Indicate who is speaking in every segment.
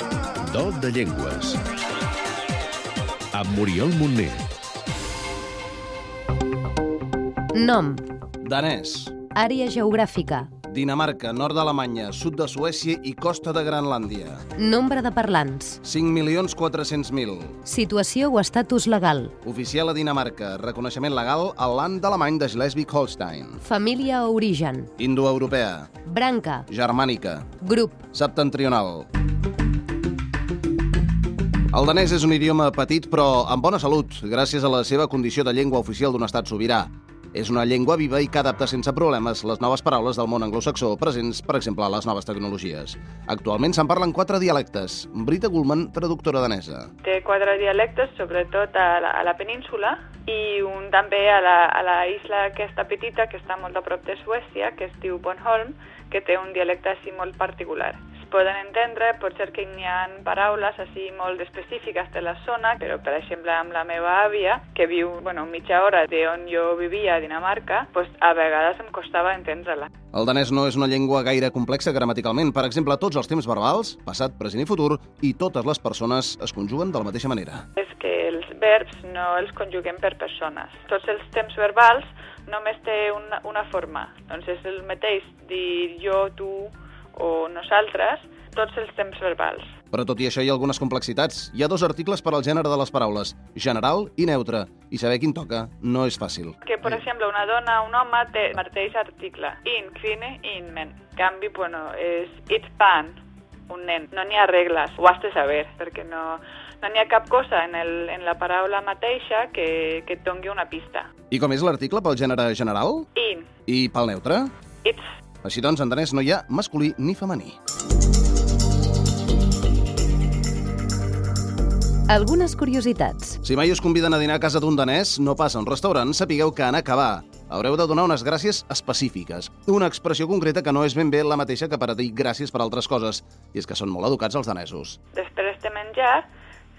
Speaker 1: Condol de Llengües. Amb Oriol Montner.
Speaker 2: Nom,
Speaker 3: Danès,
Speaker 2: àrea geogràfica,
Speaker 3: Dinamarca, nord d'Alemanya, sud de Suècia i costa de Grenlàndia.
Speaker 2: nombre de parlants,
Speaker 3: 5.400.000.
Speaker 2: situació o estatus legal,
Speaker 3: Oficial a Dinamarca, reconeixement legal al land alemany de Schleswig-Holstein.
Speaker 2: família o origen,
Speaker 3: Indoeuropea,
Speaker 2: branca,
Speaker 3: germànica,
Speaker 2: grup,
Speaker 3: septentrional. El danès és un idioma petit però amb bona salut, gràcies a la seva condició de llengua oficial d'un estat sobirà. És una llengua viva i que adapta sense problemes les noves paraules del món anglosaxó presents, per exemple, a les noves tecnologies. Actualment se'n parlen quatre dialectes. Brita Gullman, traductora danesa.
Speaker 4: Té quatre dialectes, sobretot a la, a la península, i un també a la, a la isla aquesta petita, que està molt a prop de Suècia, que es diu Bornholm, que té un dialecte així molt particular. Es poden entendre, pot ser que n'hi ha paraules així molt específiques de la zona, però per exemple amb la meva àvia, que viu bueno, mitja hora de on jo vivia a Dinamarca, pues, a vegades em costava entendre-la.
Speaker 3: El danès no és una llengua gaire complexa gramaticalment. Per exemple, tots els temps verbals, passat, present i futur, i totes les persones es conjuguen de la mateixa manera.
Speaker 4: és que els verbs no els conjuguem per persones. Tots els temps verbals només té una, una forma. Doncs és el mateix dir jo, tu o nosaltres, tots els temps verbals.
Speaker 3: Però tot i això hi ha algunes complexitats. Hi ha dos articles per al gènere de les paraules, general i neutre, i saber quin toca no és fàcil.
Speaker 4: Que, per exemple, una dona o un home té el mateix article. In, crine, in, men. En canvi, bueno, és it, pan, un nen. No n'hi ha regles, ho has de saber, perquè no no n'hi ha cap cosa en, el, en la paraula mateixa que, que et doni una pista.
Speaker 3: I com és l'article pel gènere general?
Speaker 4: In,
Speaker 3: I pel neutre?
Speaker 4: it's,
Speaker 3: Així doncs, en danès no hi ha masculí ni femení.
Speaker 2: algunes curiositats.
Speaker 3: Si mai us conviden a dinar a casa d'un danès, no passa a un restaurant, sapigueu que en acabar haureu de donar unes gràcies específiques. Una expressió concreta que no és ben bé la mateixa que per a dir gràcies per altres coses, i és que són molt educats els danesos.
Speaker 4: després de menjar,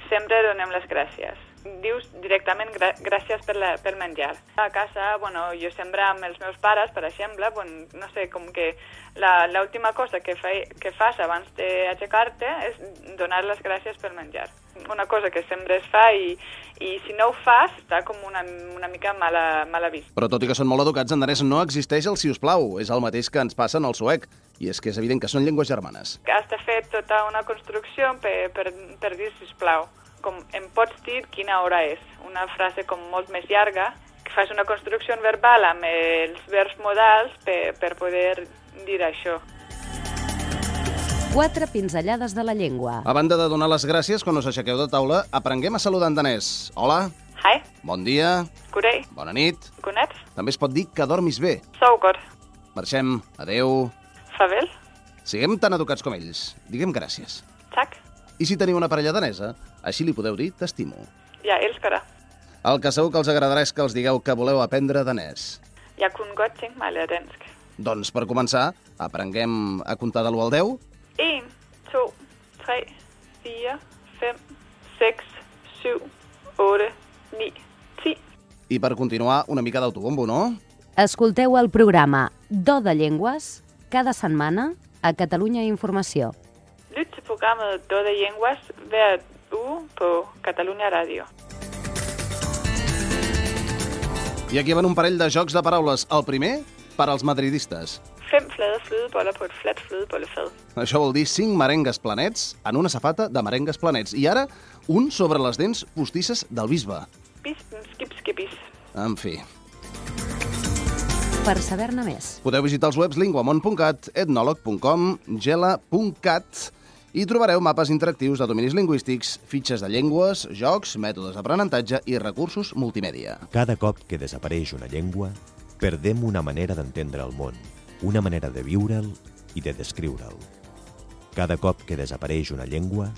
Speaker 4: sempre donem les gràcies. Dius directament gra gràcies per, la, per menjar. A casa, bueno, jo sempre amb els meus pares, per exemple, bon, no sé, com que la- l'última cosa que, fei, que fas abans d'aixecar-te és donar les gràcies per menjar. Una cosa que sempre es fa i, i si no ho fas està com una, una mica mala, mala vista.
Speaker 3: Però tot i que són molt educats, en danès no existeix el si us plau. És el mateix que ens passa en el suec. I és que és evident que són llengües germanes.
Speaker 4: que has de fer tota una construcció per, per, per dir, sisplau, com em pots dir quina hora és. Una frase com molt més llarga, que fas una construcció verbal amb els verbs modals per, per poder dir això.
Speaker 2: Quatre pinzellades de la llengua.
Speaker 3: A banda de donar les gràcies quan us aixequeu de taula, aprenguem a saludar en danès. Hola,
Speaker 4: Hi,
Speaker 3: bon dia,
Speaker 4: curei,
Speaker 3: bona nit.
Speaker 4: conets,
Speaker 3: També es pot dir que dormis bé.
Speaker 4: sougor,
Speaker 3: Marxem, adeu.
Speaker 4: favel,
Speaker 3: Siguem tan educats com ells. Diguem gràcies.
Speaker 4: tac,
Speaker 3: I si teniu una parella danesa, així li podeu dir t'estimo.
Speaker 4: ja elskara,
Speaker 3: El que segur que els agradarà és que els digueu que voleu aprendre danès.
Speaker 4: ja kun gotxing maledensk.
Speaker 3: Doncs, per començar, aprenguem a comptar de l'1 al 10
Speaker 4: 1, 2, 3, 4, 5, 6, 7, 8, 9, 10.
Speaker 3: i per continuar una mica d'autobombo, no?
Speaker 2: Escolteu el programa Do de Llengües cada setmana a Catalunya Informació.
Speaker 4: Lyt til programmet Døde Jengwas hver uge på Catalunya Radio.
Speaker 3: I aquí van un parell de jocs de paraules. El primer, per als madridistes.
Speaker 4: Fem flade flødeboller på et fladt flødebollefad.
Speaker 3: Això vol dir cinc merengues planets en una safata de merengues planets. I ara, un sobre les dents postisses del bisbe.
Speaker 4: Bispen skip skibis.
Speaker 3: En fi.
Speaker 2: Per saber-ne més,
Speaker 3: Podeu visitar els webs linguamont.cat, etnolog.com, gela.cat i trobareu mapes interactius de dominis lingüístics, fitxes de llengües, jocs, mètodes d'aprenentatge i recursos multimèdia.
Speaker 5: Cada cop que desapareix una llengua, perdem una manera d'entendre el món, una manera de viure'l i de descriure'l. Cada cop que desapareix una llengua,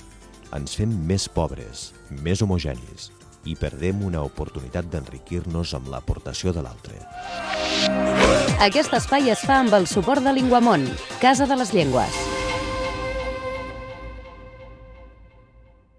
Speaker 5: ens fem més pobres, més homogenis i perdem una oportunitat d'enriquir-nos amb l'aportació de l'altre.
Speaker 2: aquest espai es fa amb el suport de Linguamont, Casa de les Llengües.